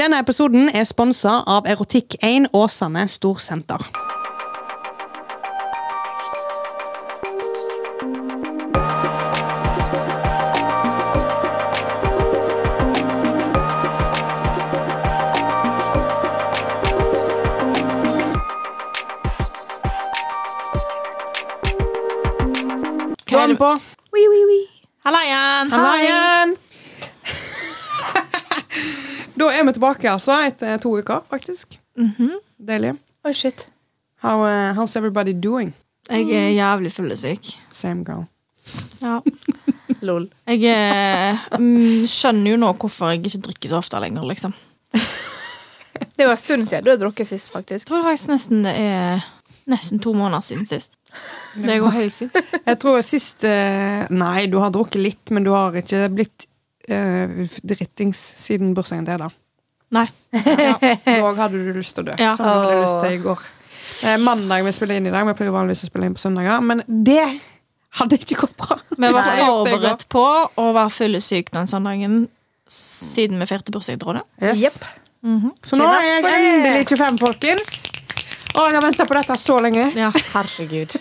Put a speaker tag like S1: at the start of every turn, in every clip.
S1: Denne episoden er sponsa av Erotikk1 Åsane Storsenter. Hva er det på?
S2: Hallaien!
S1: Hallaien! da er vi tilbake altså etter to uker, faktisk.
S2: Mhm.
S1: Deilig.
S3: Oi, shit.
S1: How, uh, how's everybody doing?
S2: Jeg er jævlig fyllesyk.
S1: Same girl.
S2: Ja.
S3: Lol.
S2: Jeg eh, mm, skjønner jo nå hvorfor jeg ikke drikker så ofte lenger, liksom.
S3: Det var en stund siden du har drukket sist,
S2: Jeg
S3: faktisk.
S2: tror faktisk nesten det er nesten to måneder siden sist. Det går helt fint.
S1: Jeg tror sist eh, Nei, du har drukket litt, men du har ikke blitt eh, drittings siden bursdagen til Eda.
S2: Nei.
S1: Ja, da hadde du lyst til å dø,
S2: Ja.
S1: som du hadde lyst til i går. Eh, mandag vi spiller inn i dag, vi pleier vanligvis å spille inn på søndager, men det hadde ikke gått bra.
S2: Vi var
S1: Nei.
S2: forberedt på å være fyllesyk den søndagen siden vi feirte bursdag, tror jeg.
S1: Yes.
S3: Jepp.
S1: Så nå er jeg endelig 25, folkens. Å, jeg har venta på dette så lenge.
S2: Ja.
S3: Herregud.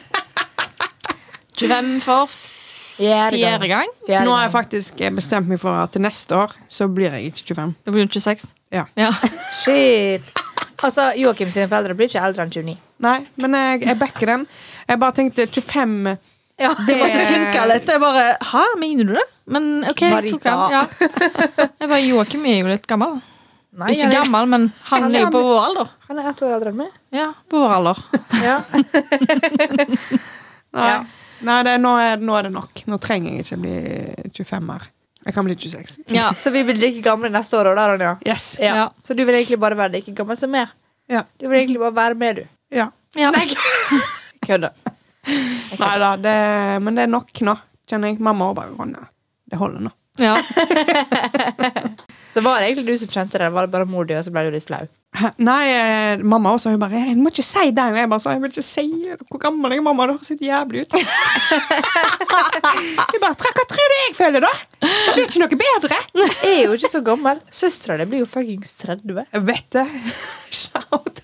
S2: 25 for fjerde gang.
S1: Nå har jeg faktisk bestemt meg for at til neste år så blir jeg ikke 25.
S2: Det blir jo 26.
S1: Ja.
S2: Ja.
S3: Shit. Altså, Joakim sine foreldre blir ikke eldre enn 29.
S1: Nei, men jeg, jeg backer den. Jeg bare tenkte 25
S3: Ja,
S2: Jeg måtte tenke
S1: Eh,
S2: litt. Jeg bare Hæ, mener du det? Men OK, jeg tok den. Ja. Jeg bare, Joakim er jo litt gammel.
S3: Nei,
S2: Ikke
S3: han er-
S2: gammel, men han
S3: Han er-
S2: er jo på vår alder.
S3: Han er ett år eldre enn meg.
S2: Ja, på vår alder.
S3: Ja.
S1: Nei,
S3: Ja.
S1: Nei det, nå, er, nå er det nok. Nå trenger jeg ikke bli 25 her. Jeg kan bli 26.
S2: Ja.
S3: Så vi blir like gamle neste år òg, da, Ronja.
S1: Yes.
S3: Ja.
S2: Ja.
S3: Så du vil egentlig bare være like gammel som meg?
S1: Ja.
S3: Du vil egentlig bare være med, du.
S1: ja.
S2: ja.
S3: Kødda.
S1: Nei da, det, men det er nok nå, kjenner jeg. Mamma og bare Ronja. Det holder nå.
S2: ja.
S3: Så var det egentlig du som kjente det, var det bare mor di, og så ble du litt flau?
S1: Hæ? Nei, eh, mamma også, hun bare 'Jeg må ikke si det'. Og jeg bare sa 'Jeg vil ikke si det. Hvor gammel er jeg, mamma? Det høres helt jævlig ut'. jeg bare «Tra, 'Hva tror du jeg føler, da?' Det blir ikke noe bedre.
S3: Jeg er jo ikke så gammel. Søstera di blir jo fuckings 30.
S1: Jeg vet det. Shout out.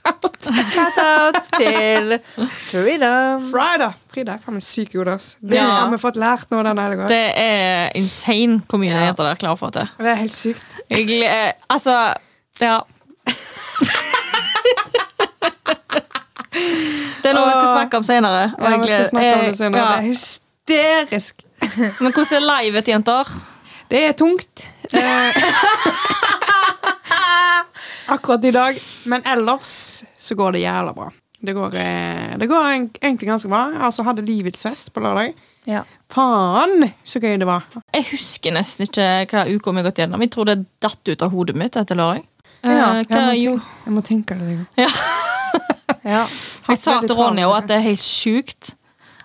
S3: Shout out til Freedom.
S1: Frida. Frida er faen meg syk i hodet. ass. Det
S2: Ja.
S1: har vi fått lært nå den helga.
S2: Det er insane hvor mye jeg heter der klarer å få til.
S1: Det er helt sykt.
S2: Jeg, gle- eh, altså, ja. Det er noe vi skal snakke om senere. og
S1: Ja,
S2: jeg
S1: vi skal
S2: gled-
S1: snakke om det
S2: eh,
S1: senere.
S2: ja.
S1: Det er hysterisk.
S2: Men hvordan er livet, jenter?
S1: Det er tungt. Eh, akkurat i dag. Men ellers så går det jævla bra. Det går, eh, det går en- egentlig ganske bra. Jeg altså, hadde livets fest på lørdag.
S3: Ja.
S1: Faen så gøy det var.
S2: Jeg husker nesten ikke hva uka vi har gått gjennom. Jeg tror det datt ut av hodet mitt etter lørdag. Eh,
S3: Ja,
S2: hva,
S1: jeg,
S2: jo,
S1: må tenke, jeg må tenke litt.
S3: Ja.
S2: jeg sa
S1: veldig
S2: til Ronny
S1: travelt.
S2: også at det er helt sjukt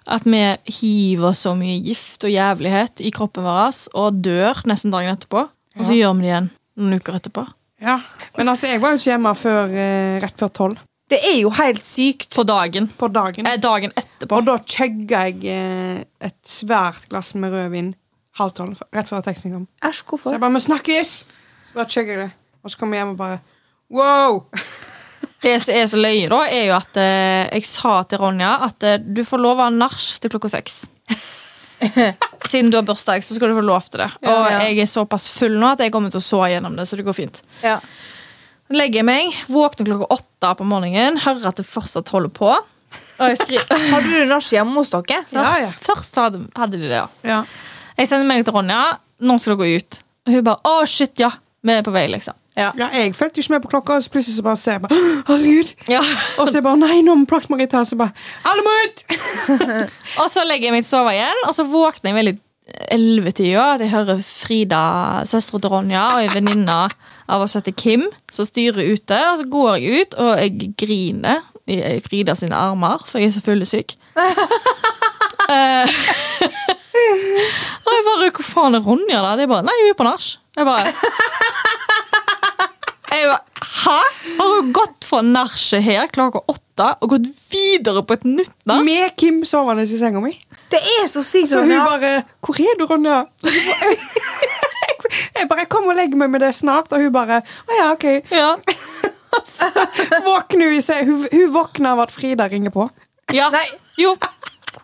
S2: at vi hiver så mye gift og jævlighet i kroppen vår og dør nesten dagen etterpå. Og så gjør vi det igjen noen uker etterpå.
S1: Ja. Men altså, jeg var jo ikke hjemme før, eh, rett før tolv
S3: Det er jo helt sykt.
S2: På dagen.
S1: på dagen.
S2: Eh, dagen etterpå.
S1: Og da chugga jeg eh, et svært glass med rødvin halv tolv, rett før teksten kom.
S3: Æsj,
S1: Så
S3: hvorfor?
S1: jeg bare 'Vi snakkes!' Så bare chugger jeg det. Og så kommer jeg hjem og bare Wow!
S2: Det som er så løye, da, er jo at eh, jeg sa til Ronja at eh, du får lov å ha nach til klokka seks. Siden du har bursdag, så skal du få lov til det. Og
S3: ja.
S2: jeg er såpass full nå at jeg kommer til å sove gjennom det, så det går fint.
S3: Ja.
S2: Legger jeg meg, våkner klokka åtte på morgenen, hører at det fortsatt holder på. Og jeg skriver
S3: Hadde du nach hjemme hos dere?
S1: Ja, ja.
S2: Først, først hadde, hadde de det, ja.
S1: Ja.
S2: Jeg sender melding til Ronja. Nå skal dere gå ut. Og hun bare 'Å, shit, ja. Vi er på vei', liksom.
S3: Ja.
S1: Ja, jeg fulgte ikke med på klokka, og så plutselig så bare ser jeg bare, «Åh, herregud.
S2: Ja.
S1: Og så jeg bare, nei, nå har vi plagt Marita, og så bare, alle må ut!
S2: Og så legger jeg meg til å sove igjen, og så våkner jeg veldig ellevetida. At jeg hører Frida, søstera til Ronja, og ei venninne av oss heter Kim, som styrer ute. Og så går jeg ut, og jeg griner i i Frida sine armer, for jeg er så fyllesyk. Eh, og jeg bare Hvor faen er Ronja, da? De bare Nei, hun er på nach. Jeg bare jeg bare, Hæ? Har hun gått fra nachet her klokka åtte og gått videre på et nytt nach?
S1: Med Kim sovende i senga mi.
S3: Det er så sykt.
S1: Så hun
S3: Ronja.
S1: bare, hvor er du, Ronja? Jeg Jeg bare jeg kommer og legger meg med det snart, og hun bare Å ja, OK.
S2: Ja.
S1: Så våkner hun, i se- hun, hun våkner av at Frida ringer på.
S2: ja.
S3: Nei.
S2: Jo.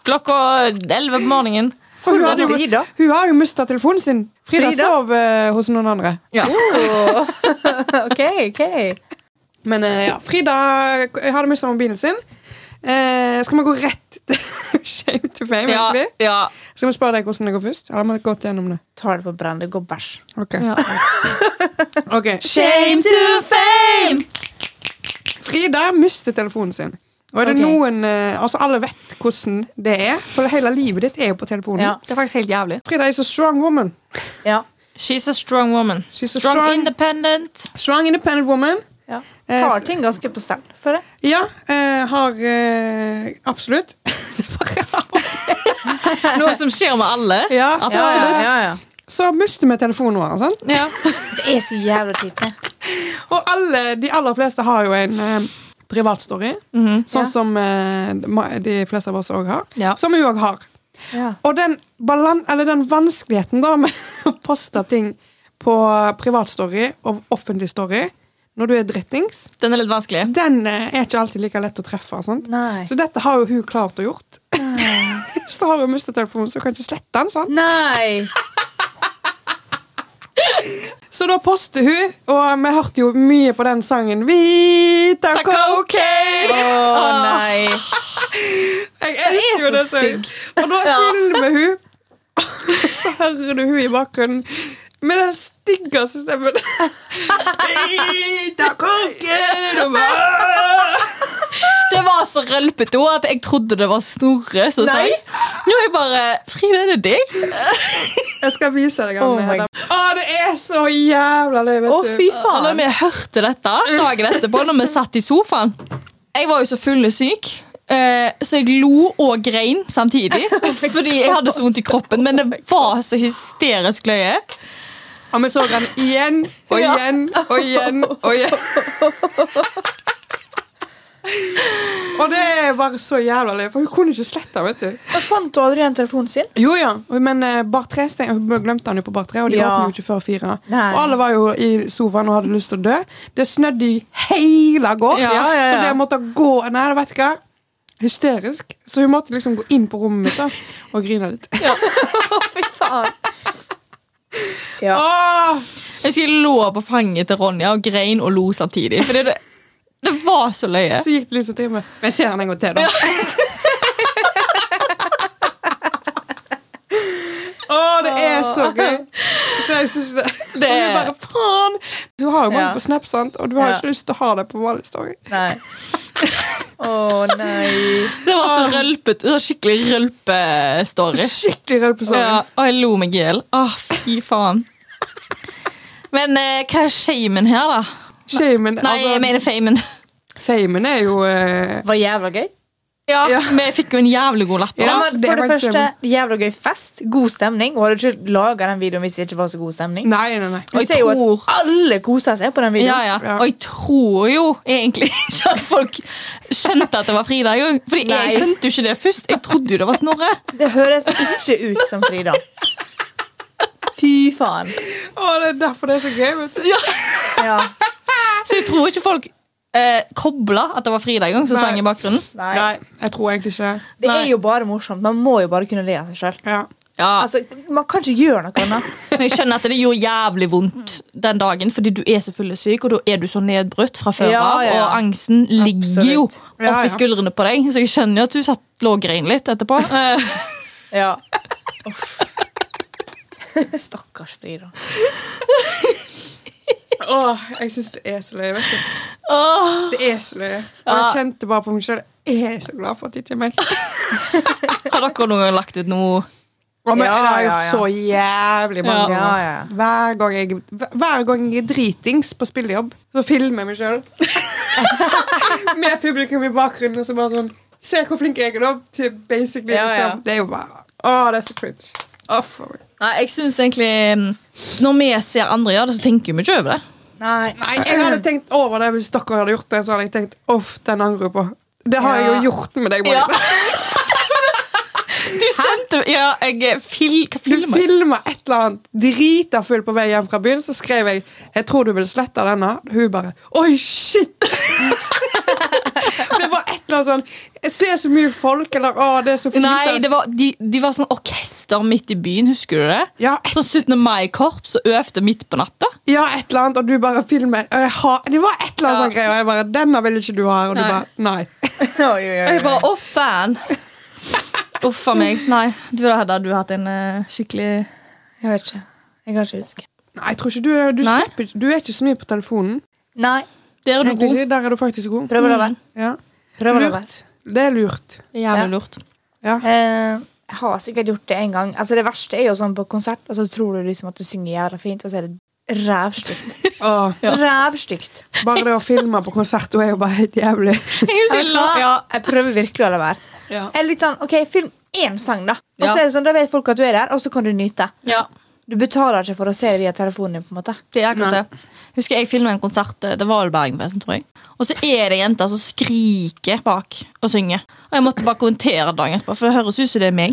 S2: Klokka elleve på morgenen.
S1: For hun,
S3: Hvor
S1: hadde,
S3: var Frida?
S1: jo- hun har jo mista telefonen sin. Frida,
S3: Frida?
S1: sov eh, hos noen andre.
S2: Ja.
S3: Oh. OK, OK.
S1: Men eh, ja, Frida k- hadde mista mobilen sin. Eh, skal vi gå rett til shame to fame?
S2: Ja.
S1: egentlig?
S2: ja.
S1: Skal vi spørre deg hvordan det går først? Eller har vi gått gjennom det?
S3: Tar det på brann. Det går bæsj.
S1: Ok.
S2: ja.
S1: Ok.
S2: Shame to fame!
S1: Frida mistet telefonen sin. Og er det
S3: Ok.
S1: noen, eh, altså Alle vet hvordan det er, for hele livet ditt er jo på telefonen.
S3: Ja.
S2: Det er faktisk helt jævlig.
S1: Frida is a strong woman.
S3: Ja.
S2: She's a strong woman.
S1: She's a
S2: strong,
S1: strong-
S2: independent.
S1: Strong independent woman.
S3: ja.
S1: Eh,
S3: Tar ting ganske på stell. Føler jeg.
S1: Ja, eh, har eh, Absolutt. Det er bare rart.
S2: Noe som skjer med alle.
S1: Ja,
S2: Absolutt.
S1: så,
S3: Ja, ja, ja, ja.
S1: så mister vi telefonen vår. Sant?
S2: Ja.
S3: Det er så jævla kjipt.
S1: Og alle, de aller fleste har jo en eh, privatstory,
S2: Mhm.
S1: sånn
S3: Ja.
S1: som eh, ma- de fleste av oss òg har.
S2: Ja.
S1: Som hun òg har.
S3: Ja.
S1: Og den, balan eller den vanskeligheten da med å poste ting på privatstory og offentlig story når du er drittings,
S2: Den er litt vanskelig.
S1: den eh, er ikke alltid like lett å treffe. Sant?
S3: Nei.
S1: Så dette har jo hun klart å gjort. så har hun mistet telefonen, så hun kan ikke slette den. sant?
S3: Nei.
S1: Så da poster hun, og vi hørte jo mye på den sangen Vita
S2: Takk,
S1: cocaine!
S3: Å nei.
S1: Jeg elsker jo
S3: Den er
S1: det
S3: så
S1: sangen. Og da
S2: Ja.
S1: filmer hun, og så hører du hun i bakgrunnen med den styggeste stemmen. Vita cocaine! og bare-
S2: Det var så rølpete også at jeg trodde det var Snorre som
S3: Nei.
S2: sang. Jo, jeg bare Frida, er det deg?
S1: Jeg skal vise deg
S3: Oh
S1: den.
S3: my
S1: Hedda. Å, det er så jævla løye, vet
S3: Å,
S1: du.
S3: fy
S2: Og når
S3: faen.
S2: vi hørte dette dagen etterpå, når vi satt i sofaen Jeg var jo så fyllesyk, eh, så jeg lo og grein samtidig. Fordi jeg hadde så vondt i kroppen, men det var så hysterisk løye.
S1: Og vi så den igjen og
S2: Ja.
S1: igjen og igjen og igjen. og det er bare så jævla løye, for hun kunne ikke slette den, vet du.
S3: Jeg fant hun aldri igjen telefonen sin?
S1: Jo ja, men eh, Bar 3 steng- hun glemte han jo på Bar 3, og de
S3: Ja.
S1: åpner jo ikke før fire.
S3: Nei.
S1: Og alle var jo i sofaen og hadde lyst til å dø. Det snødde i hele går,
S2: Ja, ja,
S3: ja.
S1: så det å måtte gå Nei, vet du hva. Hysterisk. Så hun måtte liksom gå inn på rommet mitt da, og grine litt.
S3: Å, fy faen. Ja.
S1: Åh!
S2: Jeg husker jeg lå på fanget til Ronja og grein og lo samtidig. Fordi det, det var så løye.
S1: Så gikk det litt sånn til meg. Men jeg ser den en gang til, da. Å, det er så gøy! Så jeg synes det, For
S2: Det-
S1: hun bare, faen! Du har jo mange
S3: Ja.
S1: på Snap, sant? og du har jo
S3: Ja.
S1: ikke lyst til å ha det på vanlig story.
S3: Nei. Å nei.
S2: Det var så rølpete. så Skikkelig rølpestory.
S1: Skikkelig redd på
S2: Ja,
S1: sånn.
S2: og jeg lo meg i hjel. Åh, fy faen. Men eh, hva er shamen her, da?
S1: Shamen
S2: Nei, jeg
S1: altså,
S2: mener famen.
S1: Famen er jo eh,
S3: Var jævla gøy.
S2: Ja,
S1: Ja.
S2: Vi fikk jo en jævlig god latter.
S3: Ja,
S2: da.
S1: Ja,
S3: men
S1: det
S3: for
S1: var
S3: det,
S1: en
S3: første, jævla gøy fest. God stemning. Hun hadde ikke laga den videoen hvis det ikke var så god stemning.
S1: Nei, nei, nei.
S2: Og
S3: Vi
S2: jeg
S3: ser jo
S2: tror-
S3: at alle koser seg på den
S2: Ja,
S3: videoen.
S2: ja.
S1: Ja.
S2: Og jeg tror jo egentlig ikke at folk skjønte at det var Frida engang. Fordi
S3: Nei.
S2: jeg skjønte jo ikke det først. Jeg trodde jo det var Snorre.
S3: Det høres ikke ut som Frida. Fy faen.
S1: Å, det er derfor det er så gøy. Men så,
S3: Ja.
S2: Så jeg tror ikke folk eh, kobla at det var Frida engang som
S1: Nei.
S2: sang i bakgrunnen.
S3: Nei.
S1: nei, jeg tror egentlig ikke det.
S3: Det
S2: Nei.
S3: er jo bare morsomt. Man må jo bare kunne le av seg sjøl.
S1: Ja.
S2: Ja,
S3: Altså, man kan ikke gjøre noe annet.
S2: Men jeg skjønner at det gjorde jævlig vondt den dagen, fordi du er så fyllesyk, og da er du så nedbrutt fra før av,
S3: Ja, ja, ja.
S2: og angsten ligger jo
S3: Absolutt.
S2: oppi
S1: Ja, ja.
S2: skuldrene på deg, så jeg skjønner jo at du satt lå og grein litt etterpå. Eh,
S3: Ja. Uff. Stakkars Frida.
S1: Åh, jeg syns det er så løye. vet du.
S2: åh.
S1: Det er så løye. Og jeg kjente bare på meg sjøl. Jeg er så glad for at det ikke er meg.
S2: Har dere noen gang lagt ut noe
S1: Og men,
S3: Ja,
S1: det har jeg
S3: ja,
S1: gjort så jævlig mange
S2: Ja.
S1: ganger.
S3: Ja, ja.
S1: Hver, gang jeg, hver gang jeg er dritings på spillejobb, så filmer jeg meg sjøl. Med publikum i bakgrunnen. Og så bare sånn Se hvor flink jeg er nå! Til basically
S3: Ja, ja.
S1: liksom. Det er jo bare Å, det er så cringe. Å, for meg.
S2: Nei, jeg syns egentlig mm, Når vi ser andre gjøre det, så tenker vi ikke over det.
S3: Nei.
S1: Nei, jeg hadde tenkt over det hvis dere hadde gjort det. Så hadde jeg tenkt Uff, den angrer jeg på. Det har jeg
S3: Ja.
S1: jo gjort med deg. Marit.
S2: Du sendte Ja, jeg fil, hva
S1: Du
S2: filmer
S1: filma et eller annet drita full på vei hjem fra byen, så skrev jeg 'Jeg tror du vil slette denne'. Hun bare 'Oi, shit'! det var et eller annet sånn 'Jeg ser så mye folk', eller 'Å, det er så fint'.
S2: Nei, det var, de, de var sånn orkester midt i byen, husker du det?
S1: Ja, et,
S2: Sånn 17. mai-korps og øvde midt på natta.
S1: ja, et eller annet, og du bare filmer og jeg har, Det var et eller annet
S2: Ja.
S1: sånn greie, og jeg bare 'Denne vil ikke du ha', og du
S2: Nei.
S1: bare 'Nei'.
S3: Oi, oi, oi.
S2: Og jeg bare, å faen Uff a meg. Nei, du da hadde du hatt en eh, skikkelig
S3: Jeg vet ikke. Jeg kan ikke huske.
S1: Nei, jeg tror ikke du, du
S2: Nei.
S1: slipper ikke Du er ikke så mye på telefonen.
S3: Nei.
S2: Der er du
S1: Egentlig
S2: god.
S1: ikke. Der er du faktisk god.
S3: Prøv å la være.
S1: Ja.
S3: Prøv å la
S1: Mm.
S3: være.
S1: Lurt. Det er lurt.
S2: Jævlig
S3: Ja.
S2: lurt.
S3: Eh, jeg har sikkert gjort det en gang. Altså Det verste er jo sånn på konsert, og så tror du liksom at du synger jævla fint, og så er det rævstygt.
S1: Åh,
S3: Rævstygt.
S1: bare det å filme på konsert, hun er jo bare helt jævlig.
S3: Jeg, vet hva? jeg prøver virkelig å la være.
S1: Ja.
S3: Jeg er litt sånn, ok, Film én sang, da. Og
S2: Ja.
S3: så er det sånn, Da vet folk at du er der, og så kan du nyte.
S2: Ja,
S3: Du betaler ikke for å se via telefonen din. på en måte
S2: det er akkurat det. Husker jeg filmet en konsert, eh, det var vel Bergenfesten, tror jeg. Og så er det jenter som skriker bak og synger. Og jeg måtte bare kommentere dagen etterpå, for det høres ut som det er meg.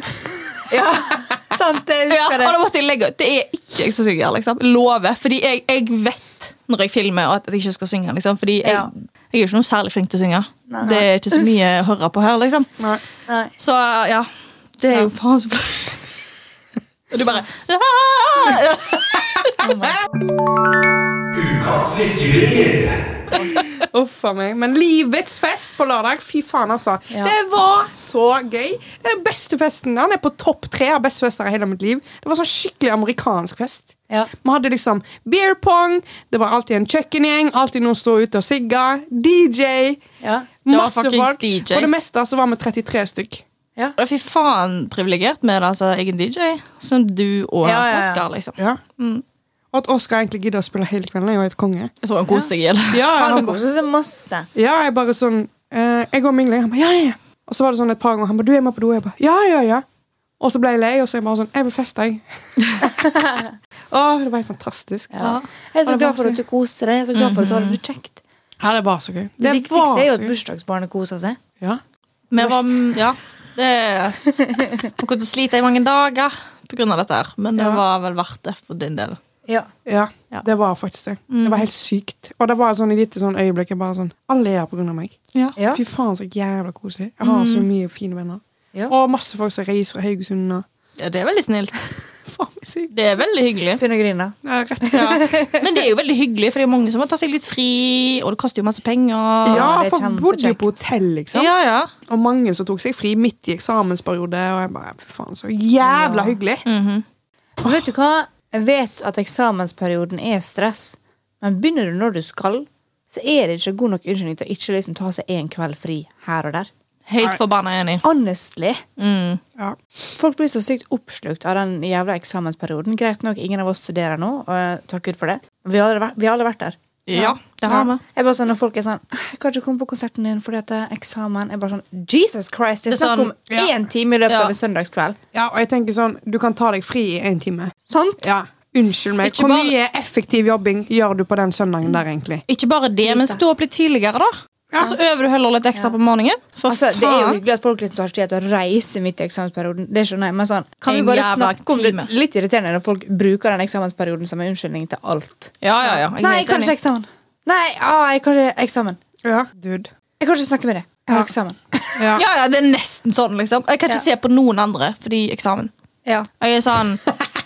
S3: Ja, sant, jeg
S2: Ja,
S3: husker
S2: og da måtte jeg legge ut. Det er ikke jeg som synger, liksom. Lover. Fordi jeg, jeg vet når jeg filmer at jeg ikke skal synge, liksom. Fordi jeg,
S3: Ja.
S2: jeg er jo ikke noe særlig flink til å synge.
S3: Nei.
S2: Det er ikke så mye å høre på her, liksom.
S1: Nei.
S3: Nei.
S2: Så ja, det er jo faen så flaut. Og du bare «Ah!»
S4: Ukas vekkeringer.
S1: Uff a meg. Men livets fest på lørdag, fy faen, altså.
S3: Ja.
S1: Det var så gøy. Den beste festen. Han er på topp tre av beste fester i hele mitt liv. Det var sånn skikkelig amerikansk fest.
S3: Ja.
S1: Vi hadde liksom beer pong, det var alltid en kjøkkengjeng, alltid noen sto ute og sigga. DJ.
S3: Ja.
S2: var
S1: Masse
S2: fuckings
S1: folk.
S2: DJ.
S1: På det meste så var vi 33 stykk.
S2: Fy faen privilegert med det, altså, egen DJ, som du og
S3: Ja, ja, ja.
S2: Oskar, liksom.
S1: Ja. Og at Oskar egentlig gidder å spille hele kvelden, er jo helt konge.
S2: Jeg tror han koser seg i det.
S1: Ja,
S3: Han
S1: han bare-
S3: koser seg masse.
S1: Ja, jeg bare sånn eh, Jeg og Mingling, han ba, ja, ja. Og så var det sånn et par ganger, han ba, du er med på do, jeg ba, ja, ja, ja. Og så ble jeg lei, og så er jeg bare sånn, jeg vil feste, jeg. Åh, det var helt fantastisk.
S3: Ja. Jeg er så glad for at du koser deg. Jeg er så glad for at du har det kjekt.
S1: Ja, det var så gøy.
S3: Det
S1: var
S3: viktigste er jo
S1: så
S3: at
S1: gøy.
S3: bursdagsbarnet koser seg.
S1: Ja.
S2: Vi var Ja. Det Han kom til å slite i mange dager pga. dette, her men det
S1: Ja.
S2: var vel verdt det for din del.
S3: Ja.
S1: Ja,
S2: Ja.
S1: det var faktisk det. Det var helt sykt. Og det var sånn i litt sånn øyeblikk, jeg bare sånn, alle er her på grunn av meg.
S2: Ja.
S3: Ja. Mm.
S1: Fy faen, så jævla koselig. Jeg har så mye fine venner.
S3: Ja.
S1: Og masse folk som reiser fra Haugesund. og-
S2: Det er veldig snilt.
S1: Faen, så sykt.
S2: Det er veldig hyggelig.
S3: Begynner å grine.
S1: Det er rett.
S2: Ja. Men det er jo veldig hyggelig, for det er jo mange som må ta seg litt fri, og det koster jo masse penger.
S1: Ja,
S3: det er
S1: for bodde jo
S3: kjempekjekt.
S1: på hotell, liksom.
S2: ja, ja.
S1: Og mange som tok seg fri midt i eksamensperiode. Og jeg bare, fy faen, så jævla
S3: Ja.
S1: hyggelig.
S3: Og vet du hva? Jeg vet at eksamensperioden er stress, men begynner du når du skal, så er det ikke god nok unnskyldning til å ikke liksom ta seg en kveld fri her og der.
S2: Helt forbanna enig.
S3: Honestly.
S2: Mm.
S1: Ja.
S3: Folk blir så sykt oppslukt av den jævla eksamensperioden. Greit nok, ingen av oss studerer nå, og eh, takk Gud for det. Vi har alle vært, vi har alle vært der.
S2: Ja, det har vi.
S3: Jeg er bare sånn, Når folk er sånn «Åh, 'Jeg kan ikke komme på konserten din fordi at det er eksamen.' Jeg er bare sånn Jesus Christ! Det er
S2: Det er
S3: snakk om
S1: sånn, ja.
S3: én time i løpet
S2: Ja.
S3: av en søndagskveld.
S1: ja, Og jeg tenker sånn, du kan ta deg fri i én time.
S3: Sant?
S1: Ja, Unnskyld meg.
S2: Ikke
S1: Hvor
S2: bare-
S1: mye effektiv jobbing gjør du på den søndagen der, egentlig?
S2: Ikke bare det, men stå opp litt tidligere, da. Og så øver du heller litt ekstra på morgenen. For
S3: Altså, det er jo
S2: faen.
S3: hyggelig at folk liksom tar seg tid til å reise midt i eksamensperioden. Det skjønner jeg, men sånn, Kan vi
S2: En
S3: bare
S2: jævla
S3: snakke om det?
S2: time.
S3: Litt irriterende når folk bruker den eksamensperioden som en unnskyldning til alt.
S2: Ja, ja, ja. er
S3: Nei,
S2: helt
S3: jeg kan
S2: enig.
S3: ikke eksamen. Nei, ah, jeg kan ikke eksamen.
S1: Ja, dude.
S3: Jeg kan ikke snakke med deg. Jeg har eksamen.
S1: Ja.
S2: Ja, ja, det er nesten sånn, liksom. Jeg kan ikke se
S3: Ja.
S2: på noen andre fordi eksamen.
S3: Ja.
S2: Jeg er sånn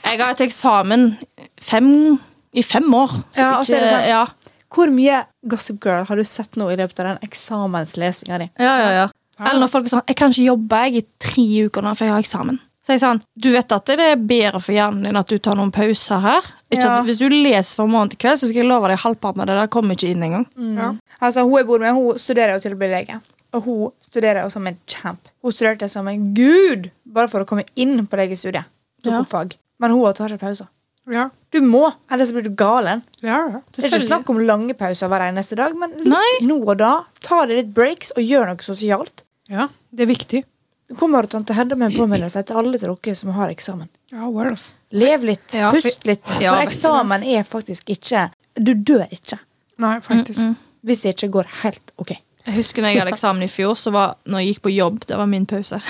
S2: Jeg har hatt eksamen fem, i fem år. så
S3: Ja, og så er det sånn-
S2: ja.
S3: Hvor mye Gossip Girl har du sett nå i løpet av den eksamenslesinga di?
S2: Ja, ja, ja. Eller når folk er sånn Jeg kan ikke jobbe jeg i tre uker nå, for jeg har eksamen. Så jeg er sånn, Du vet at det er bedre for hjernen din at du tar noen pauser her? Ikke
S3: Ja.
S2: at Hvis du leser fra morgen til kveld, så skal jeg love deg halvparten av det der kommer ikke inn engang.
S1: Ja.
S3: Altså, Hun jeg bor med, hun studerer jo til å bli lege. Og hun studerer jo som en champ. Hun studerte som en gud bare for å komme inn på legestudiet. Tok
S2: Ja.
S3: opp fag. Men hun tar ikke pauser.
S1: Ja,
S3: Du må, ellers blir du galen.
S1: ja, ja.
S3: Det er ikke
S2: Selvfølgelig.
S3: snakk om lange pauser hver eneste dag, men litt
S2: Nei.
S3: nå og da. Ta deg litt breaks og gjør noe sosialt.
S1: ja. Det er viktig.
S3: Nå kommer tante Hedda med en påminnelse til alle til dere som har eksamen.
S1: Ja, word, altså.
S3: Lev litt,
S2: Ja.
S3: pust litt.
S2: Ja,
S3: For
S2: vet du
S3: eksamen er faktisk ikke Du dør ikke
S1: Nei, faktisk.
S3: hvis det ikke går helt OK.
S2: Jeg husker når jeg hadde eksamen i fjor, så var når jeg gikk på jobb, det var min pause.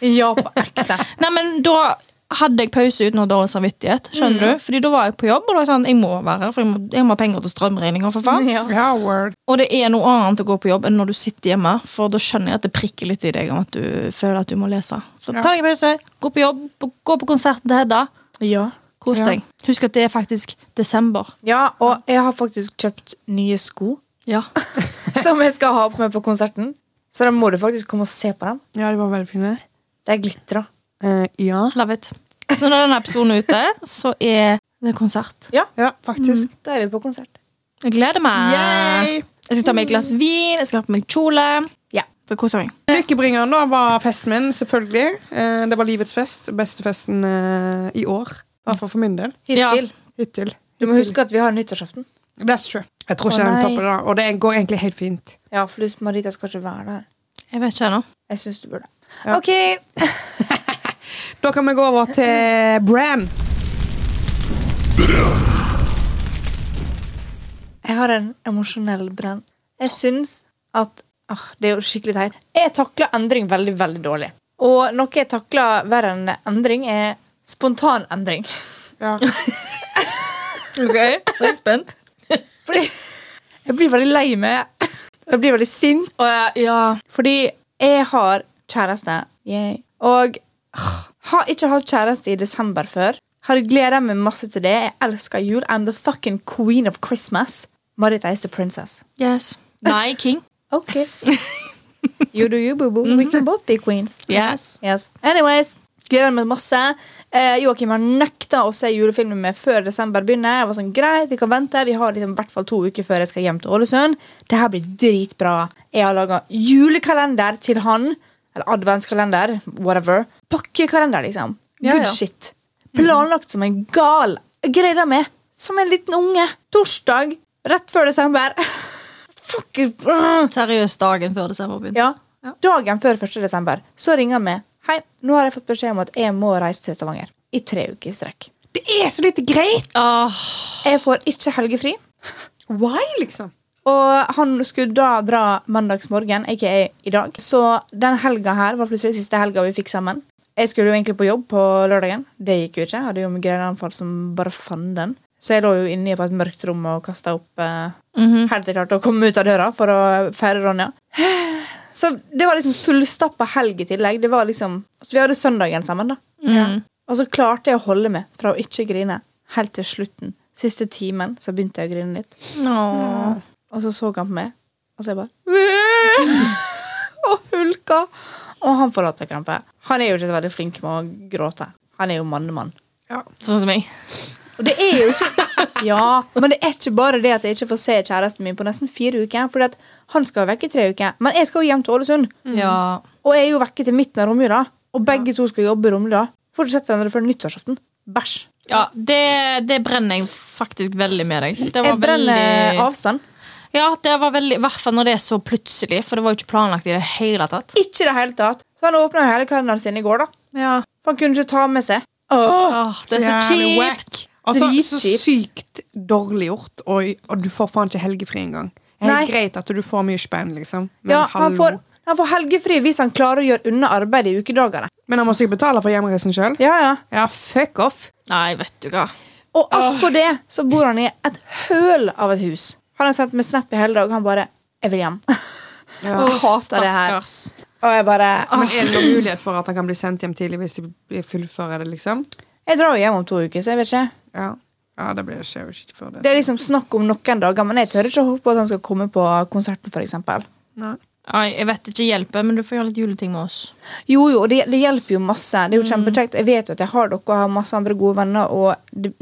S3: Ja, på ekte.
S2: Nei, men da hadde jeg pause uten å ha dårlig samvittighet. skjønner du? Fordi da var jeg på jobb, og da var jeg sånn, jeg må være her, for jeg må, jeg må ha penger til strømregninga. for faen.
S3: Ja.
S1: Ja, word.
S2: Og det er noe annet å gå på jobb enn når du sitter hjemme, for da skjønner jeg at det prikker litt i deg om at du føler at du må lese. Så ta deg en pause, gå på jobb, gå på konserten til Hedda.
S3: ja.
S2: Kos
S1: Ja.
S2: deg. Husk at det er faktisk desember.
S3: Ja, og jeg har faktisk kjøpt nye sko
S2: Ja.
S3: som jeg skal ha på meg på konserten. Så da må du faktisk komme og se på dem.
S1: Ja, det var veldig fine.
S3: De glitrer.
S1: Eh, ja.
S2: Love it. Så når denne episoden er ute, så er det konsert.
S1: ja, faktisk.
S3: Da er vi på konsert.
S2: Jeg gleder meg.
S1: Mm. Ah. Yay!
S2: Jeg skal ta meg et glass vin, jeg skal ha på meg kjole.
S3: Ja.
S2: Så koser jeg meg.
S1: Lykkebringeren da var festen min, selvfølgelig. Eh, det var livets fest. Beste festen eh, i år. I hvert fall for min del.
S3: Hittil.
S1: Hittil.
S3: Du må huske at vi har nyttårsaften.
S1: That's true. Jeg tror ikke
S3: Å,
S1: den
S3: nei.
S1: topper det, da. og det går egentlig helt fint.
S3: Ja, for du, Marita skal ikke være der.
S2: Jeg vet ikke ennå.
S3: Jeg syns du burde.
S1: Ja.
S3: OK.
S1: Da kan vi gå over til Brann.
S3: Jeg har en emosjonell brenn. Jeg syns at ah, Det er jo skikkelig teit. Jeg takler endring veldig, veldig dårlig. Og noe jeg takler verre enn endring, er spontan endring.
S1: Ja.
S2: Ok, jeg er spent.
S3: Fordi jeg blir veldig lei meg. Jeg blir veldig sint.
S2: ja.
S3: Fordi jeg har kjæreste. Yay. Og ah, har ikke hatt kjæreste i desember før. Har gleda meg masse til det. Jeg elsker jul. I'm the fucking queen of Christmas. Marita is the princess.
S2: Yes. Nei, King.
S3: Ok. You do you, boo-boo. We can both be queens.
S2: Yes.
S3: Yes. Anyways, gleder meg masse. Eh, Joakim har nekta å se julefilmen med før desember begynner. Jeg var sånn, greit, Vi kan vente, vi har liksom i hvert fall to uker før jeg skal hjem til Ålesund. Det her blir dritbra. Jeg har laga julekalender til han. Eller adventskalender. Whatever. Pakkekalender, liksom.
S2: Ja,
S3: Good
S2: ja.
S3: shit. Planlagt som en gal. Jeg Gleder meg som en liten unge. Torsdag rett før desember. Fuck it. Mm.
S2: Seriøst dagen før desember begynte.
S3: Ja.
S2: Ja.
S3: Dagen før 1. desember så ringer han meg. Hei, nå har jeg fått beskjed om at jeg må reise til Stavanger. I tre uker i strekk.
S1: Det er så lite greit!
S2: Åh,
S3: Jeg får ikke helgefri.
S1: Why, liksom?
S3: Og han skulle da dra mandagsmorgen, aka i dag. Så den helga her var plutselig siste helga vi fikk sammen. Jeg skulle jo egentlig på jobb på lørdagen. Det gikk jo ikke. Jeg hadde jo migreneanfall som bare fanden. Så jeg lå jo inne på et mørkt rom og kasta opp eh, helt til jeg klarte å komme ut av døra for å feire Ronja. Så det var liksom fullstappa helg i tillegg. Det var liksom, så vi hadde søndagen sammen, da. Og så klarte jeg å holde meg fra å ikke grine helt til slutten. Siste timen så begynte jeg å grine litt.
S2: Åh.
S3: Og så så han på meg, og så jeg bare Og hulka. Og han får latterkrampe. Han er jo ikke så veldig flink med å gråte. Han er jo mannemann.
S2: Sånn som meg.
S3: Og det er jo ikke Ja, men det er ikke bare det at jeg ikke får se kjæresten min på nesten fire uker. Fordi at han skal vekk i tre uker. Men jeg skal jo hjem til Ålesund.
S2: Ja.
S3: Og jeg er jo vekke til midten av romjula. Og begge to skal jobbe i romjula. Får ikke sett hverandre før nyttårsaften. Bæsj.
S2: Ja, det, det brenner jeg faktisk veldig med deg. Det var
S3: Jeg brenner
S2: veldig,
S3: avstand.
S2: Ja, det var veldig, i hvert fall når det er så plutselig, for det var jo ikke planlagt i det hele tatt.
S3: Ikke i det hele tatt. Så han åpna hele kalenderen sin i går, da.
S2: Ja.
S3: For han kunne ikke ta med seg. Åh.
S2: Åh, det er så
S1: Jævlig
S2: kjipt.
S1: whack. Altså, så
S3: Dritkjipt.
S1: sykt dårlig gjort, og, og du får faen ikke helgefri engang. Det er helt
S3: Nei.
S1: greit at du får mye spenn, liksom. Men,
S3: Ja, han
S1: hallo.
S3: får, han får helgefri hvis han klarer å gjøre unna arbeidet i ukedagene.
S1: Men han må sikkert betale for hjemreisen sjøl.
S3: Ja, ja.
S1: Ja, fuck off!
S2: Nei, vet du hva.
S3: Og attpå det så bor han i et høl av et hus. Han har sendt meg snap i hele dag. Han bare 'Jeg vil hjem'.
S1: Ja.
S3: Jeg hater det her.
S2: Stakkars.
S3: Og jeg bare
S1: Men er det noen mulighet for at han kan bli sendt hjem tidlig hvis de blir fullfører det, liksom?
S3: Jeg drar jo hjem om to uker, så jeg vet ikke.
S1: Ja, ja det blir skjer jo ikke før det.
S3: Det er liksom snakk om noen dager, men jeg tør ikke å håpe på at han skal komme på konserten, f.eks.
S1: Nei.
S2: Nei, jeg vet ikke hjelper, men du får gjøre litt juleting med oss.
S3: Jo, jo, det, det hjelper jo masse. Det
S1: Mm.
S3: er jo kjempekjekt. Jeg vet jo at jeg har dere og har masse andre gode venner, og det,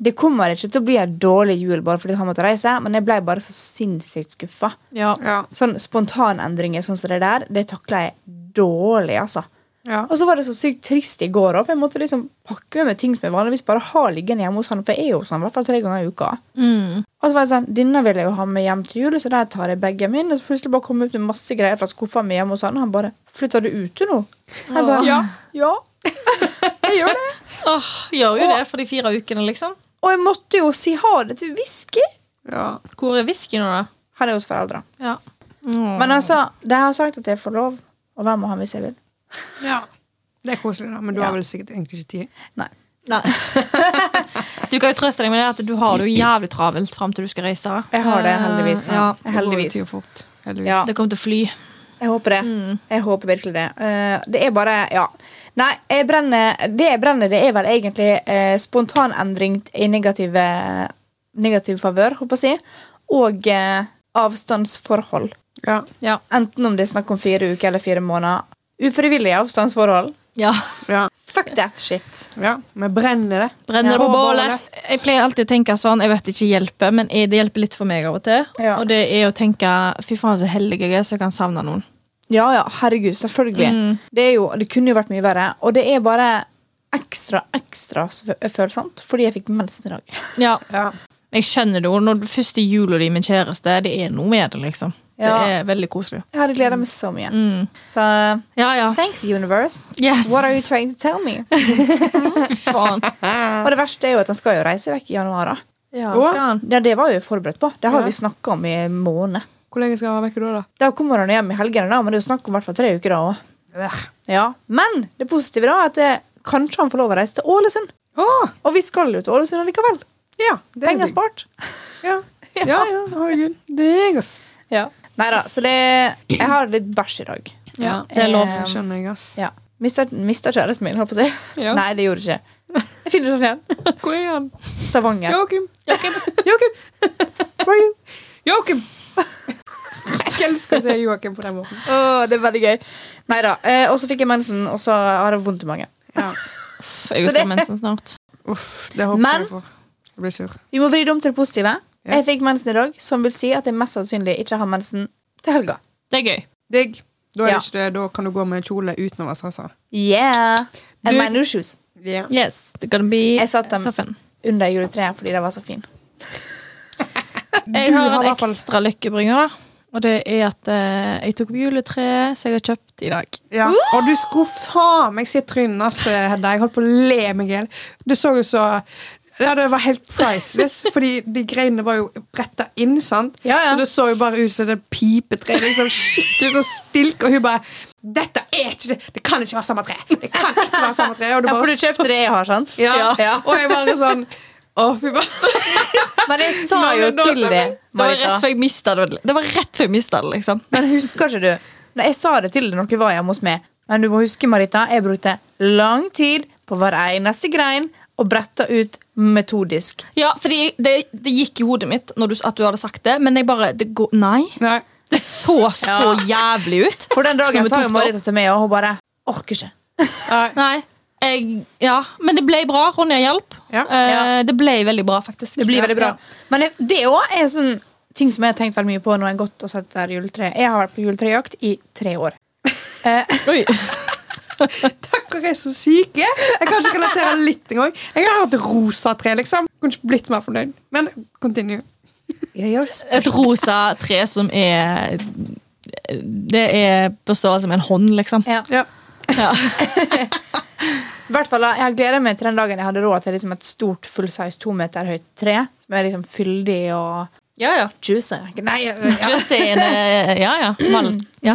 S3: det kommer ikke til å bli en dårlig jul bare fordi han måtte reise, men jeg ble bare så sinnssykt skuffa.
S2: Ja.
S1: Ja.
S3: Sånn spontanendringer sånn som det der, det takla jeg dårlig, altså.
S1: Ja.
S3: Og så var det så sykt trist i går òg, for jeg måtte liksom pakke med meg ting som jeg vanligvis bare har liggende hjemme hos han, for jeg er jo hos han i hvert fall tre ganger i uka.
S2: Mm.
S3: Og så var jeg sånn, denne vil jeg jo ha med hjem til jul, så der tar jeg bagen min, og så plutselig bare kom jeg ut med masse greier fra skuffa mi hjemme hos han, og han bare 'Flytter du ut, du, nå?' Jeg bare
S1: Ja.
S3: Ja. jeg gjør det.
S2: Åh, gjør jo det for de fire ukene, liksom.
S3: Og jeg måtte jo si ha det til Whisky.
S1: Ja.
S2: Hvor er whiskyen nå, da?
S3: Han er hos foreldra.
S2: Ja.
S3: Men altså, de har sagt at jeg får lov, og hvem må han hvis jeg vil?
S1: ja. Det er koselig, da, men du
S3: Ja.
S1: har vel sikkert egentlig ikke tid.
S3: Nei.
S2: Nei. du kan jo trøste deg med det at du har det jo jævlig travelt fram til du skal reise.
S3: Jeg har det, heldigvis.
S2: Eh, Ja.
S1: Det går jo
S3: Heldigvis.
S1: tida fort. Heldigvis.
S3: Ja.
S2: Det kommer til å fly.
S3: Jeg håper det.
S2: Mm.
S3: Jeg håper virkelig det. Eh, det er bare Ja. Nei, jeg brenner, det jeg brenner, det er vel egentlig eh, spontanendring i negative, negativ favør, håper jeg å si, og eh, avstandsforhold.
S1: Ja.
S2: Ja.
S3: Enten om det er snakk om fire uker eller fire måneder. Ufrivillige avstandsforhold.
S2: ja.
S1: Ja.
S3: Fuck that shit.
S1: ja. Vi brenner det.
S2: Brenner det
S3: Ja.
S2: på
S3: Og
S2: bålet. Jeg pleier alltid å tenke sånn, jeg vet ikke hjelper, men jeg- det hjelper litt for meg av og til.
S3: Ja.
S2: Og det er å tenke fy faen så heldig jeg er så jeg kan savne noen.
S3: Ja, ja, herregud, selvfølgelig.
S2: Mm.
S3: Det, er jo, det kunne jo vært mye verre. Og det er bare ekstra, ekstra så- følsomt fordi jeg fikk mensen i dag.
S2: Ja.
S1: Ja.
S2: Jeg skjønner det jo. Når det første jula di med kjæreste, det er noe med det, liksom.
S3: Ja.
S2: Det er veldig koselig.
S3: Jeg hadde gleda
S1: Mm.
S3: meg så mye. Så
S2: Ja, ja.
S3: thanks, universe.
S2: Yes.
S3: What are you trying to tell me?
S2: Faen.
S3: Og det verste er jo at han skal jo reise vekk i januar. da.
S2: Ja,
S1: Å.
S2: skal han.
S3: Ja, det var jeg jo forberedt på. Det har
S1: Ja.
S3: vi snakka om i en måned.
S1: Hvor lenge skal han være vekke da? da?
S3: Da kommer han hjem i helgene, da, men det er jo snakk om i hvert fall tre uker da òg. Ja. Men det positive da er at eh, kanskje han får lov å reise til Ålesund.
S1: Å,
S3: Og vi skal jo til Ålesund likevel.
S1: ja, det er
S3: Penger
S1: digg.
S3: spart.
S1: Ja. ja, ja, herregud. Det er jeg, ass.
S3: Nei da, så det Jeg har litt bæsj i dag.
S1: Ja,
S2: det er lov.
S3: Eh,
S1: Skjønner jeg, ass.
S3: ja. Mista mista kjæresten min, holdt på å si.
S1: Ja.
S3: Nei, det gjorde jeg ikke. Jeg finner den igjen.
S1: Hvor er han?
S3: Stavanger.
S1: Joakim.
S3: Joakim! Where are you?
S1: Joakim! Jeg elsker å se Joakim på den måten.
S3: Åh, det er veldig gøy. Nei da. Eh, og så fikk jeg mensen, og så har jeg vondt i magen.
S1: Ja.
S2: Uff, Jeg
S3: Så
S2: skal
S3: det-
S2: ha mensen snart.
S1: Uff, det håper
S3: Men-
S1: jeg for. Jeg blir sur.
S3: Vi må vri det om til det positive.
S1: Yes.
S3: Jeg fikk mensen i dag, som vil si at jeg mest sannsynlig ikke har mensen til helga.
S2: Det er gøy.
S1: Digg. Da, er
S3: Ja.
S1: det ikke det. da kan du gå med kjole uten å være stressa.
S3: Yeah! And
S1: Du-
S3: my new shoes.
S1: Ja.
S2: Yes, it's gonna be
S3: Jeg satt dem.
S2: so fun.
S3: Under juletreet fordi de var så fine.
S2: Jeg
S1: har
S2: har
S1: i
S2: en
S1: hvert fall-
S2: ekstra lykkebringer, da. Og det er at eh, jeg tok opp juletreet som jeg har kjøpt i dag.
S1: Ja. Og du skulle faen meg se trynet hans, Hedda. Jeg holdt på å le meg i hjel. Det så jo så ja, Det var helt priceless, fordi de greiene var jo retta inn. sant?
S3: Ja, ja.
S1: Så det så jo bare ut som det pipetre. Liksom, skikkelig sånn stilk. Og hun bare 'Dette er ikke det! Det kan ikke være samme tre!' Det kan ikke være samme tre. Og det
S3: Ja,
S1: bare
S3: for du kjøpte det jeg har, sant?
S1: Ja.
S3: Ja.
S1: Og jeg bare sånn Å, fy faen.
S3: Men jeg sa
S1: Nå,
S3: jo
S1: nå
S3: til
S1: sa
S3: det,
S1: vi-
S2: Det var rett
S3: Marita.
S2: før jeg mista det. Det var rett før jeg mistet det, liksom.
S3: Men husker ikke du? Nei, jeg sa det til deg når dere var hjemme hos meg. Men du må huske, Marita, jeg brukte lang tid på hver eneste grein og bretta ut metodisk.
S2: Ja, fordi det, det gikk i hodet mitt når du, at du hadde sagt det, men jeg bare det går, Nei.
S1: Nei.
S2: Det så så jævlig ut.
S3: For den dagen
S2: Men vi
S3: sa
S2: tok
S3: jo
S2: det opp.
S3: Marita til meg, og hun bare orker ikke.
S1: Nei.
S2: Nei. Jeg, ja, men det ble bra. Ronja hjalp.
S1: Ja.
S2: Eh, Det ble veldig bra, faktisk.
S3: Det blir veldig bra.
S2: Ja.
S3: Men jeg- det òg er sånn ting som jeg har tenkt veldig mye på når jeg har gått og sett der juletre. Jeg har vært på juletrejakt i tre år. Eh,
S2: Oi.
S1: Dere er så syke. Jeg kan ikke relatere litt engang. Jeg har hatt rosa tre, liksom. Kunne ikke blitt mer fornøyd. Men continue.
S3: jeg gjør s-
S2: Et rosa tre som er Det er på størrelse med en hånd, liksom.
S3: ja.
S1: Ja.
S2: Ja.
S3: I hvert fall, da, Jeg har gleda meg til den dagen jeg hadde råd til liksom et stort full size to meter høyt tre. Som er liksom fyldig og
S2: ja, ja.
S3: juicy. Nei, ja.
S2: Just in, eh, ja, ja. Mal.
S3: Ja.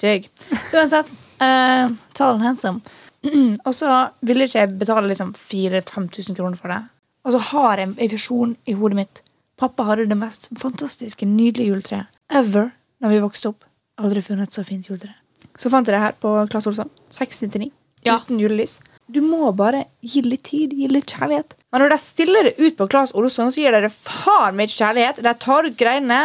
S3: Digg. Mm. Uansett, eh, tall and handsome. og så ville ikke jeg betale liksom 4000-5000 kroner for det. Og så har jeg en visjon i hodet mitt. Pappa hadde det mest fantastiske, nydelige juletreet ever når vi vokste opp. Aldri funnet et så fint juletre. Så fant jeg det her på Claes Olsson. 699.
S2: Ja.
S3: Uten julelys. Du må bare gi litt tid, gi litt kjærlighet. Men når de stiller det ut på Claes Olsson, så gir de det faen meg ikke kjærlighet. De tar ut greinene,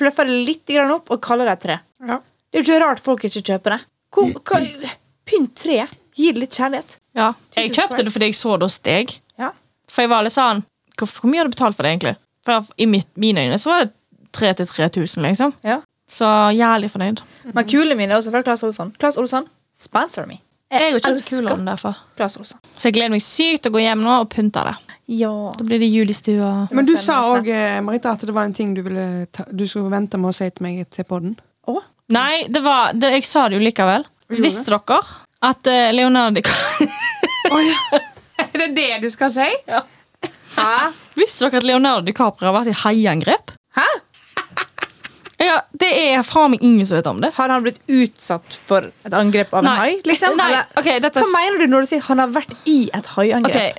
S3: fluffer det litt grann opp og kaller det et tre.
S1: Ja.
S3: Det er jo ikke rart folk ikke kjøper det. Hvor, hva, pynt treet. Gi det litt kjærlighet.
S2: Ja. Jeg
S3: Jesus
S2: kjøpte det
S3: Christ.
S2: fordi jeg så det hos deg.
S3: Ja.
S2: For jeg var litt sånn Hvor, hvor mye har du betalt for det, egentlig? For i mitt, mine øyne så var det 3000-3000, liksom.
S3: Ja.
S2: Så jævlig fornøyd.
S3: Mm. Men kulene mine er også fra Claes Olsson. Claes Olsson, sponsor me.
S2: Jeg er jo ikke kulere derfor.
S3: Claes Olsson.
S2: Så jeg gleder meg sykt til å gå hjem nå og pynte det.
S3: Ja.
S2: Da blir det jul i stua.
S1: Men du
S3: Send
S1: sa
S3: oss
S1: òg, Marita, at det var en ting du ville ta, Du skulle vente med å si til meg til podden.
S3: Å?
S2: Nei, det var, det, jeg sa det jo likevel.
S1: gjorde
S2: Visste dere at eh, Leonardo DiCaprio
S1: Er det det du skal si?
S3: Hæ?
S2: Visste dere at Leonardo DiCaprio har vært i haiangrep?
S3: Hæ?
S2: Ja, det er faen meg ingen som vet om det.
S3: Har han blitt utsatt for et angrep av en hai? Liksom?
S2: Nei,
S3: Eller,
S2: ok, dette
S3: hva mener du når du sier han har vært i et haiangrep?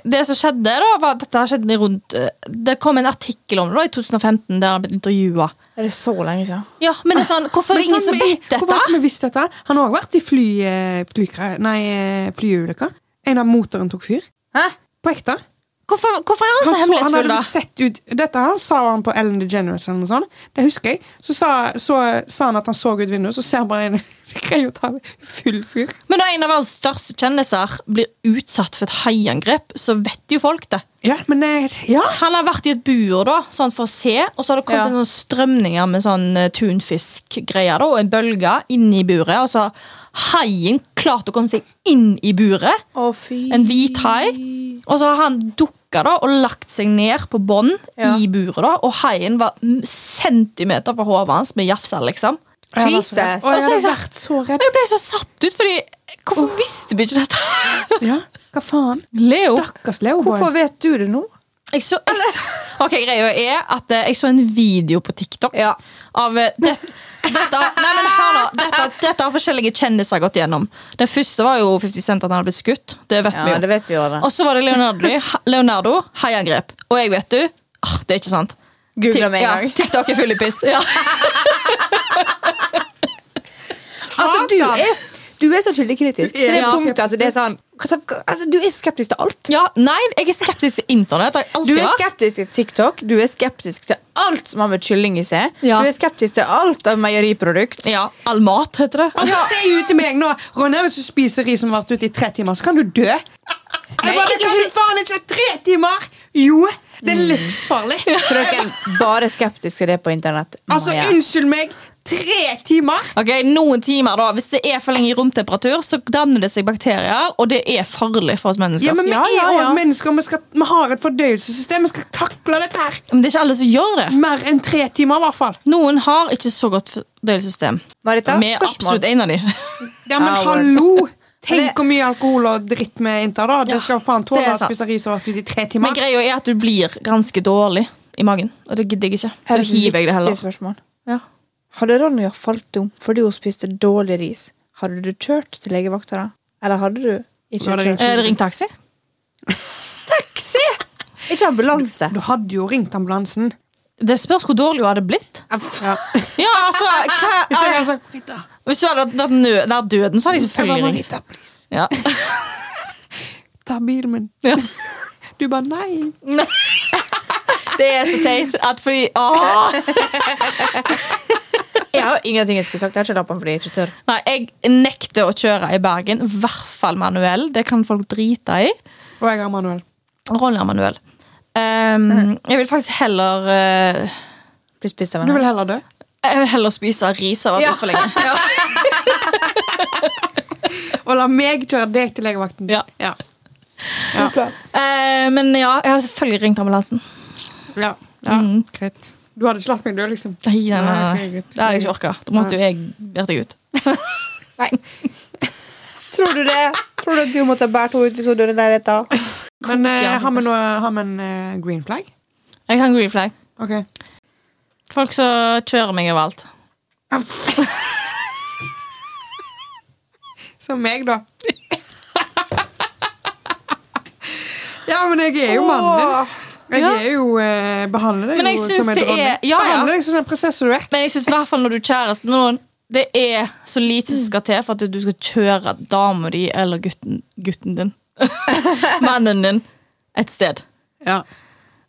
S2: Ok, det som skjedde da, var at dette her skjedde rundt eh, Det kom en artikkel om det da, i 2015 der han ble intervjua.
S3: Er det så lenge siden?
S2: Ja, men det er sånn, hvorfor er det ingen som vet
S1: Hvorfor
S2: dette?
S1: har ikke vi visst dette? Han har også vært i fly, eh, flykra- nei, eh, flyulykker. En av motoren tok fyr.
S3: Hæ?
S1: På ekte.
S2: Hvorfor, hvorfor er han
S3: Altså,
S1: Han
S2: så
S1: så, han
S2: hemmelighetsfull,
S1: hadde
S2: da?
S1: sett ut Dette her sa han på Ellen DeGeneres eller noe sånt. Det husker jeg. Så sa, så sa han at han så ut vinduet, så ser han bare en Det kan jo ta full fyr.
S2: Men når en av verdens største kjendiser blir utsatt for et haiangrep, så vet jo folk det.
S1: Ja, men eh, Ja!
S2: Han har vært i et bur da, sånn for å se, og så har det kommet
S3: Ja.
S2: en sånn strømninger med sånn eh, tunfiskgreier da, og en bølge inn i buret, og så har haien klart å komme seg inn i buret,
S3: Å, fy.
S2: en hvit hai, og så har han dukket da, og lagt seg ned på bånd
S3: Ja.
S2: i buret da, og haien var mm, centimeter fra hovedet hans med jafsa, liksom.
S1: Og jeg var så redd.
S3: Jesus.
S1: Og jeg
S2: Og så er jeg
S1: hadde
S2: så-
S1: vært så
S2: Men
S1: redd.
S2: jeg ble så satt ut, fordi hvorfor visste vi ikke dette?
S1: Ja, hva faen?
S2: Leo.
S1: Stakkars Leo. boy.
S3: Hvorfor vet du det nå?
S2: Jeg så, jeg, så- ok, greia er at eh, jeg så en video på TikTok
S3: Ja.
S2: av eh, det, dette, nei, men hør nå, dette, dette har forskjellige kjendiser gått gjennom. Den første var jo 50 Cent, at han hadde blitt skutt. Det vet vi
S3: Ja, det
S2: jo.
S3: vet vi jo. det.
S2: Og så var det Leonardo, Leonardo haiangrep. Og jeg vet du ah, Det er ikke sant.
S3: Googla med en
S2: ja,
S3: gang.
S2: TikTok er full i piss. Ja.
S3: Altså, du er, du er så kildekritisk. Til det
S2: Ja.
S3: punktet at det er sånn hva- altså, Du er skeptisk til alt.
S2: ja, Nei, jeg er skeptisk til internett. det har Jeg
S3: Du
S2: alltid
S3: er
S2: vært.
S3: skeptisk til TikTok, du er skeptisk til alt som har med kylling i seg.
S2: Ja.
S3: Du er skeptisk til alt av meieriprodukt.
S2: Ja, All mat, heter det.
S1: Altså, Se ut til meg nå! Ronja, hvis du spiser ris som har vært ute i tre timer, så kan du dø. Jeg bare, kan du faen ikke tre timer? Jo, det
S3: Mm.
S1: er livsfarlig.
S3: Frøken, bare skeptisk til det på internett.
S1: Altså,
S3: Maja.
S1: unnskyld meg. Tre timer?
S2: Ok, Noen timer, da. Hvis det er for lenge i romtemperatur, så danner det seg bakterier, og det er farlig for oss mennesker.
S1: Ja, men Vi
S3: Ja, ja,
S1: er
S3: ja.
S1: også mennesker, vi, skal, vi har et fordøyelsessystem. Vi skal takle dette her.
S2: Men det er ikke alle som gjør det.
S1: Mer enn tre timer, i hvert fall.
S2: Noen har ikke så godt fordøyelsessystem.
S3: Marita,
S2: Vi er
S3: spørsmål.
S2: absolutt en av de.
S1: Ja, men
S3: Hour.
S1: hallo! Tenk
S3: Det-
S1: hvor mye alkohol og dritt vi inntar, da. Det
S2: Ja,
S1: skal faen
S2: det
S1: tåle
S2: er
S1: å
S2: sant.
S1: spise ris som har vært ute i tre
S2: Men
S1: timer.
S2: greia er at du blir ganske dårlig i magen, og det gidder jeg ikke. Så
S3: Her er
S2: hiver jeg det
S3: viktige
S2: heller.
S3: spørsmål.
S2: Ja.
S3: Hadde Ronja falt om fordi hun spiste dårlig ris, hadde du kjørt til legevakta da? Eller hadde du ikke
S1: Nå hadde jeg
S3: kjørt?
S2: Er det Eh, ring taxi?
S3: Taxi! Ikke ambulanse.
S1: Du hadde jo ringt ambulansen.
S2: Det spørs hvor dårlig hun hadde blitt.
S1: Ja.
S2: Ja, altså, hva,
S1: Hvis jeg hadde sagt Rita,
S2: Hvis du hadde vært nær nø- nær døden, så hadde jeg
S1: jeg bare,
S2: selvfølgelig ringt.
S1: Rita, please,
S2: Ja.
S1: ta bilen min.
S2: Ja.
S1: Du bare nei.
S2: Det er så teit at fordi åh,
S3: Jeg har ingenting jeg skulle sagt. Jeg har ikke lappen fordi jeg ikke tør.
S2: Nei, jeg nekter å kjøre i Bergen. I hvert fall manuell. Det kan folk drite i.
S1: Og jeg har Manuel.
S2: Ronja manuell. Ehm, jeg vil faktisk heller eh,
S3: Bli spist av
S1: Du
S3: en
S1: vil heller dø?
S2: Jeg vil heller spise ris av alt for lenge. Ja.
S1: Og la meg kjøre deg til legevakten.
S2: Ja.
S1: Ja.
S3: hund.
S2: Eh, men ja, jeg hadde selvfølgelig ringt ambulansen. Mm.
S1: Ja. Ja. Greit. Du hadde ikke latt meg dø, liksom?
S2: Nei, nei, nei,
S1: Nei,
S2: nei.
S1: gutt.
S2: Det hadde jeg ikke orka. Da måtte jo jeg vært deg ut.
S3: Tror du det? Tror du at du måtte ha båret henne ut hvis hun døde i leiligheten?
S1: Men eh,
S2: altså.
S1: har vi noe Har vi en eh, green flag?
S2: Jeg kan green flag.
S1: Ok.
S2: Folk som kjører meg overalt.
S1: Som meg, da. ja, men jeg er jo mannen din. Jeg
S2: Ja.
S1: er jo eh, Behandler
S2: Men
S1: deg
S2: jeg
S1: jo
S2: syns
S1: som en
S2: det er-
S1: dronning.
S2: ja, ja.
S1: Behandler deg som den prinsesse du er.
S2: Men jeg syns i hvert fall når du er kjæreste med noen, det er så lite som skal til for at du skal kjøre dama di eller gutten, gutten din, mannen din, et sted.
S1: Ja.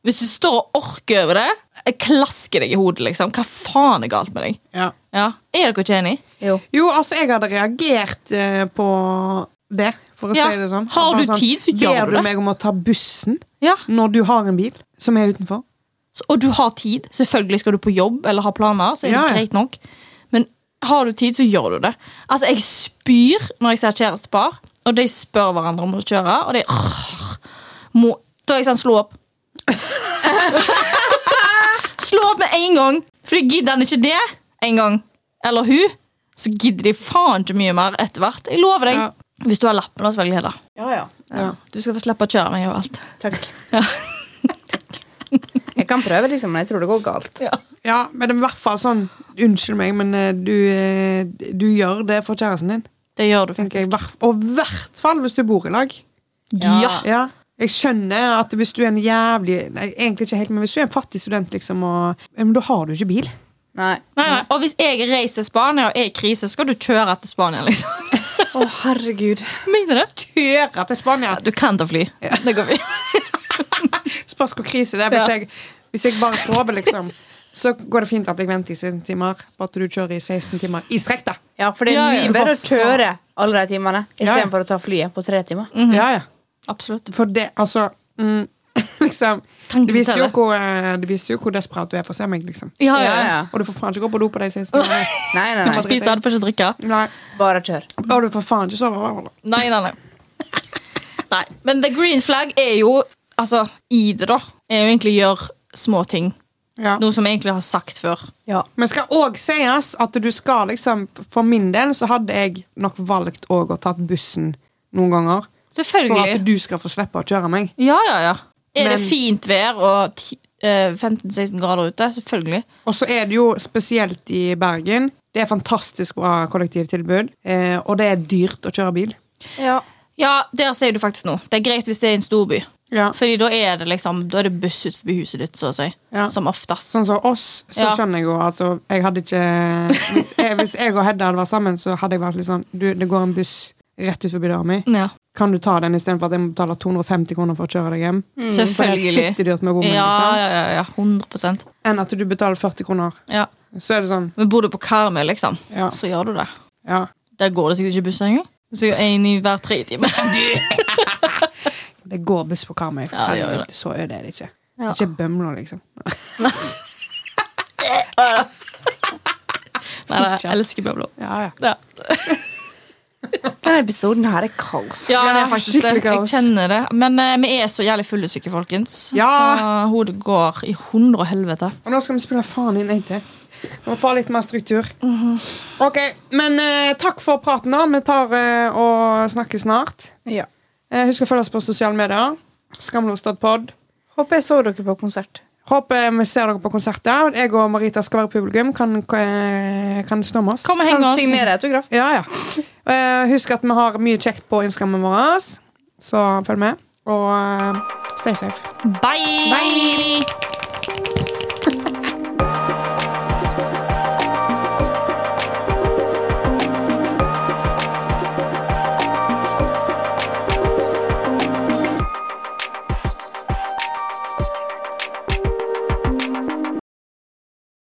S2: Hvis du står og orker over det, jeg klasker deg i hodet, liksom. Hva faen er galt med deg?
S1: Ja.
S2: Ja. Er dere ikke enige?
S3: Jo.
S1: Jo, altså, jeg hadde reagert eh, på det, for å
S2: Ja.
S1: si det sånn.
S2: Har
S1: Bare
S2: du
S1: sånn,
S2: tid, så gjør du
S1: Ber
S2: det.
S1: du meg om å ta bussen
S2: Ja.
S1: når du har en bil som er utenfor?
S2: Så- Og du har tid. Selvfølgelig skal du på jobb eller har planer, så er det
S1: Ja, ja.
S2: greit nok. Men har du tid, så gjør du det. Altså, Jeg spyr når jeg ser kjærestepar, og de spør hverandre om å kjøre, og de «Åh, må, Da er jeg sånn Slå opp. slå opp med en gang! For gidder han ikke det en gang, eller hun, så gidder de faen ikke mye mer etter hvert. Jeg lover deg.
S1: Ja.
S2: Hvis du har lappen, da, selvfølgelig. Hedda.
S3: Ja, ja.
S1: Ja.
S2: Du skal få slippe å kjøre meg overalt.
S3: Takk.
S2: Ja.
S3: Jeg kan prøve, liksom, men jeg tror det går galt.
S2: Ja.
S1: Ja, men det er i hvert fall sånn Unnskyld meg, men eh, du, eh, du gjør det for kjæresten din.
S2: Det gjør du
S1: tenker jeg.
S2: faktisk.
S1: Hver- Og i hvert fall hvis du bor i lag.
S2: Ja.
S1: Ja. Jeg skjønner at hvis du er en jævlig Nei, egentlig ikke helt, men hvis du er en fattig student, liksom, og ja, Men da har du ikke bil.
S3: Nei.
S2: Nei, nei. Og hvis jeg reiser til Spania og er i krise, skal du kjøre til Spania, liksom.
S3: Å, herregud.
S2: Mener du?
S1: Kjøre til Spania!
S2: Du kan ta fly. Det går fint.
S1: Spørs hvor krise det er. Hvis,
S2: Ja.
S1: jeg, hvis jeg bare sover, liksom, så går det fint at jeg venter i 16 timer. Bare at du kjører i 16 timer i strekk, da.
S3: Ja, for det er
S2: Ja, ja.
S3: mye bedre å kjøre alle de
S1: Ja,
S3: timene
S1: ja.
S3: istedenfor for å ta flyet på tre timer.
S2: Mhm.
S1: Ja, ja.
S2: Absolutt.
S1: For det, altså mm, Liksom.
S2: Kan ikke
S1: Det viser, jo
S2: fortelle.
S1: hvor, eh, det viser jo hvor desperat du er for å se meg, liksom.
S2: Ja, ja.
S3: Ja,
S2: ja.
S3: ja.
S1: Og du får faen ikke gå på do på de 16 timene.
S3: Nei, nei,
S2: Du får
S3: nei.
S2: spise, du får ikke drikke.
S1: Nei.
S3: Bare kjør.
S1: Og du får faen ikke sove. over.
S2: Nei, nei, nei. nei. Men the green flag er jo Altså, i det, da. Er jo egentlig gjør små ting.
S1: Ja.
S2: Noe som jeg egentlig har sagt før.
S3: Ja.
S1: Men skal òg sies at du skal liksom For min del så hadde jeg nok valgt òg å tatt bussen noen ganger. For at
S2: Selvfølgelig.
S1: du skal få slippe å kjøre meg.
S2: Ja, ja, ja. Er det
S1: Men-
S2: fint vær og ti- eh, 15-16 grader ute? Selvfølgelig.
S1: Og så er det jo spesielt i Bergen. Det er fantastisk bra kollektivtilbud, eh, og det er dyrt å kjøre bil.
S3: ja.
S2: Ja, der sier du faktisk noe. Det er greit hvis det er i en storby.
S1: Ja.
S2: Fordi da er det liksom Da er det buss utenfor huset ditt, så å si.
S1: Ja.
S2: Som oftest.
S1: Sånn som oss, så
S2: Ja.
S1: skjønner jeg jo altså, jeg hadde ikke, hvis, jeg, hvis jeg og Hedda hadde vært sammen, så hadde jeg vært litt sånn Du, det går en buss rett ut forbi døra mi.
S2: Ja.
S1: Kan du ta den istedenfor at jeg må betale 250 kroner for å kjøre deg hjem? Mm, For det er
S2: Mm. Selvfølgelig.
S1: fittedyrt med bommen.
S2: Ja,
S1: liksom.
S2: ja, ja, ja. 100
S1: enn at du betaler 40 kroner.
S2: ja.
S1: Så er det sånn,
S2: Men bor du på Karmøy, liksom,
S1: Ja.
S2: så gjør du det.
S1: ja.
S2: Der går det sikkert ikke buss engang. Så er en i hver tredje time.
S1: Det går buss på Karmøy.
S2: Ja, det gjør jo det.
S1: Herregud, Så er det ikke.
S2: Ja.
S1: Ikke Bømlo, liksom.
S2: Nei, nei, jeg elsker Bømlo.
S1: Ja, ja.
S2: Ja.
S3: Denne episoden her er kaos.
S2: ja, det er
S1: Ja,
S2: faktisk det.
S1: skikkelig
S2: Jeg
S1: kaos.
S2: kjenner det. Men eh, vi er så jævlig fyllesyke, folkens.
S1: Ja.
S2: Så hodet går i hundre og helvete.
S1: Og nå skal vi spille faen inn en til. Vi må få litt mer struktur.
S2: Mhm.
S1: Ok, men eh, takk for praten, da. Vi tar eh, og snakkes snart.
S3: Ja.
S1: Eh, husk å følge oss på sosiale medier. Skamlos.pod.
S3: Håper jeg så dere på konsert.
S1: Håper vi ser dere på konserter. Jeg og Marita skal være publikum. Kan, eh, kan stå med oss.
S2: Kom og heng
S3: Kan
S2: med oss.
S3: signere autograf.
S1: Ja, ja. Eh, husk at vi har mye kjekt på Instagrammen vår, så følg med. Og eh, stay safe.
S2: Bye!